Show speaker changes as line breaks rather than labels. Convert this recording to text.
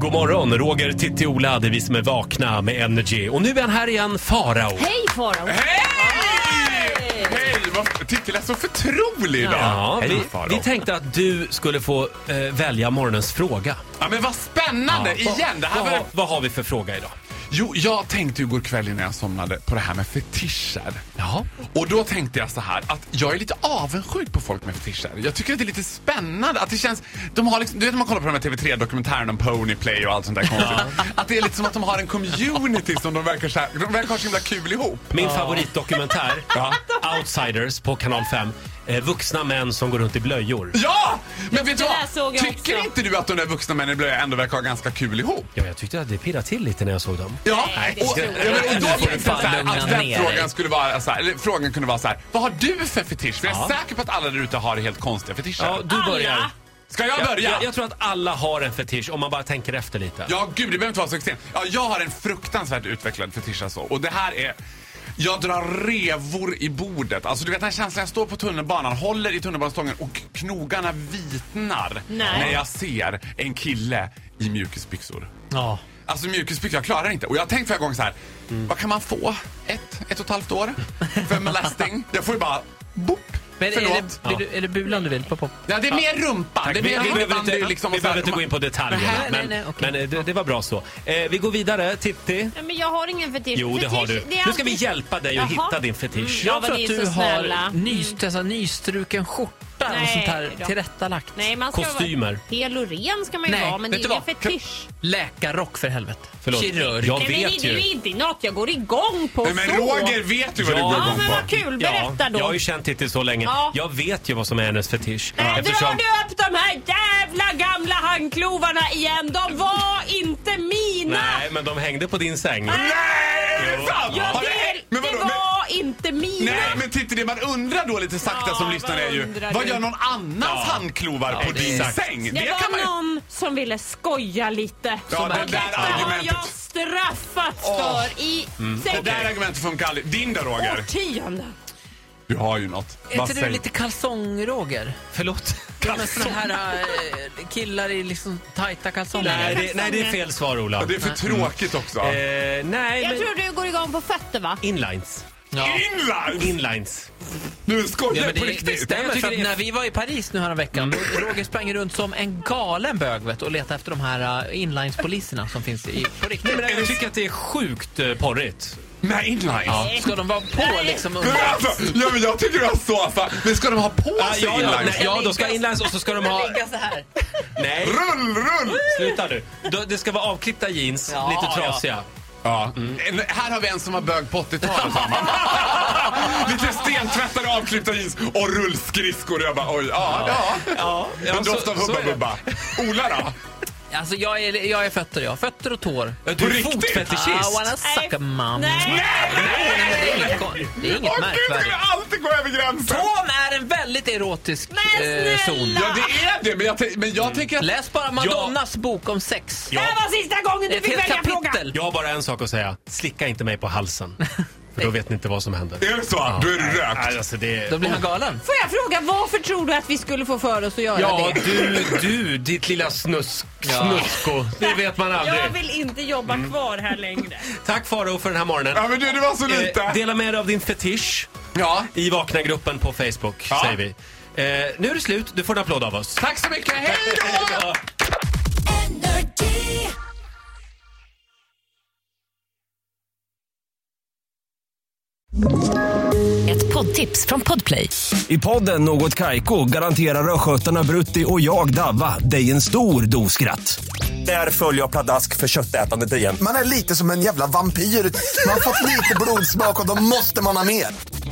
God morgon, Roger, Titti, Ola, det är vi som är vakna med Energy. Och nu är han här igen, Farao.
Hej Farao!
Äh?
Hej! Hej! Vad- Titti lät så förtrolig idag.
Ja,
Hej,
vi,
Faro.
vi tänkte att du skulle få eh, välja morgonens fråga.
ja, men vad spännande!
Ja,
Igen, det här
vad,
var...
vad, vad har vi för fråga idag?
Jo, jag tänkte ju igår kväll innan jag somnade på det här med fetischer.
Jaha.
Och då tänkte jag så här att jag är lite avundsjuk på folk med fetischer. Jag tycker att det är lite spännande att det känns... De har liksom, du vet när man kollar på de här TV3-dokumentärerna om Ponyplay och allt sånt där konstigt. att det är lite som att de har en community som de verkar, så här, de verkar ha så himla kul ihop.
Min favoritdokumentär, Outsiders på kanal 5. Eh, vuxna män som går runt i blöjor.
Ja! Men vet du
Det där såg
vad?
jag
Tycker
också.
inte du att de där vuxna männen i blöja ändå verkar ha ganska kul ihop?
Ja, jag tyckte att det pirrade till lite när jag såg dem.
Ja,
Nej, det
och, ja,
tror jag
men, och
inte.
då
Nu får du
tänkte jag så här,
fan
att
lugna
den
ner
frågan
dig.
skulle vara så här, eller frågan kunde vara så här, vad har du för fetisch? För jag är
Ja.
säker på att alla där ute har helt konstiga fetischer.
Ja, du börjar.
Alla.
Ska jag
Jag,
börja?
jag, jag tror att alla har en fetisch om man bara tänker efter lite.
Ja, gud, det behöver inte vara så extremt. Ja, jag har en fruktansvärt utvecklad fetisch alltså. Och det här är... Jag drar revor i bordet. Alltså du vet den här känslan, jag står på tunnelbanan, håller i tunnelbanestången och knogarna vitnar
Nej.
när jag ser en kille i mjukisbyxor.
Ja.
Alltså mjukisbyxor, jag klarar inte. Och jag har tänkt flera gånger så här, vad kan man få? Ett, ett och ett halvt år? För en molesting? Jag får ju bara, boop!
Men är
Förlåt.
det, är, det, är det bulan du vill på? på?
Ja, det är mer rumpan. Det är
Vi, vi,
mer
behöver
rumpan.
inte,
Det är liksom
vi
så här-
behöver inte gå in på detaljerna,
Nej,
men,
nej, nej, okej.
men eh, det, det var bra så. Eh, vi går vidare. Titti?
Nej, Men jag har ingen fetisch.
Jo, det
fetisch,
har du.
det är
Nu ska vi
alltid-
hjälpa dig att
Jaha.
hitta din fetisch.
Mm, ja,
Jag tror
men
att
ni är
du
så snälla.
har ny, alltså, nystruken skjorta och
Nej
sånt här
då.
tillrättalagt.
Nej, man ska
Kostymer.
Vara, hel och ren ska man ju
Nej,
vara, men det
vet
är
du
ingen
vad?
fetisch.
Läkarrock för helvete.
Förlåt.
Kirurg.
Jag
Nej, men
vet
det är ju
ju.
inte något jag går igång på
Nej, men
så.
Roger vet ju
Ja.
vad du går
Ja,
igång
men
på.
vad kul.
Ja,
Berätta då.
jag har ju känt Titti så länge.
Ja.
Jag vet ju vad som är hennes fetisch.
Nej,
Eftersom,
drar du upp de här jävla gamla handklovarna igen? De var inte mina!
nej, men de hängde på din säng.
Nej, är
Jo.
det sant?
Jag
Har det
vill,
hänt? men
det
vadå? Men,
var inte mina!
nej, men titta det man undrar då lite sakta
Ja,
som
vad
lyssnare är ju,
undrar
vad
du?
gör någon annans handklovar på
det
din
är-
säng?
det, var
ju...
någon som ville skoja lite.
Ja, det
Detta
där
har jag
argumentet.
straffats
Åh. Mm.
för i
Det
säkert
där argumentet funkar aldrig. Din då Roger?
årtionden.
Du har ju något.
Är inte du lite kalsongroger?
Förlåt.
Ja, men såna här eh, killar i liksom tajta kalsonger.
Nej det, nej, det är fel svar, Ola.
Ja, Det är för tråkigt också.
Eh, nej,
Jag
men
tror du går igång på fötter va?
inlines.
Ja.
Inline!
Inlines.
Nu skojar
Ja,
du på
men det, det Mm.
riktigt?
stämmer,
Jag tycker
för att
det är-
när vi var i Paris nu häromveckan, då Roger sprang runt som en galen bög vet, du, och letade efter de här uh, inlinespoliserna som finns i, på riktigt.
Men jag tycker att det är sjukt eh, porrigt.
Nej, inline.
Ja. Ska de vara på liksom
Men
under?
alltså, ja, men jag tycker du har så fa- Men ska de ha på
Ja,
sig
ja, ja,
inline?
nej, ja, då ska inlines och så ska de ha...
Ligga så här.
Nej,
Rull, rull!
sluta nu. Då- Det ska vara avklippta jeans,
Ja,
lite
ja.
trasiga.
Ja. En, här har vi en som var bög på 80-talet. sa man. Lite stentvättade, avklippta jeans och rullskridskor. Jag bara oj, ja, ja.
Ja, ja,
En doft
så-
av
så
Hubba
är det.
Bubba. Ola då?
Alltså jag är, jag är fötter jag. Fötter och tår.
På
Du är
riktigt? Ah,
I wanna
fotfetischist.
suck a mom.
Nej.
Det är inget, kon- det är inget
Åh gud, ska
märkvärdigt.
det alltid gå över gränsen?
Tån är en väldigt erotisk
Men
eh, zon.
snälla!
Ja, det är det, men jag, tänk- men jag tänker att...
Läs bara Madonnas bok om sex.
Det här var sista gången du
Ett
fick
helt
välja fråga.
kapitel.
Jag har bara en sak att säga. Slicka inte mig på halsen. För då vet ni inte vad som händer.
Är det så? Då är det rökt.
Nej, Alltså, det...
Då blir han galen.
Får jag fråga, varför tror du att vi skulle få för oss att göra
Ja,
det?
du, du, ditt lilla snusk, snusko. Det vet man
Jag
aldrig.
vill inte jobba kvar här längre.
Tack Faro för den här morgonen.
Ja, men du, det var så
Eh,
lite.
dela med dig av din fetisch
Ja.
i Vakna-gruppen på Facebook,
Ja.
säger vi. Eh, nu är det slut. Du får en applåd av oss.
Tack så mycket, hej då!
Ja.
Energy.
Ett poddtips från Podplay.
I podden Något Kaiko garanterar östgötarna Brutti och jag, Davva, dig en stor dos skratt. Där följer jag pladask för köttätandet igen.
Man är lite som en jävla vampyr. Man har fått lite blodsmak och då måste man ha mer.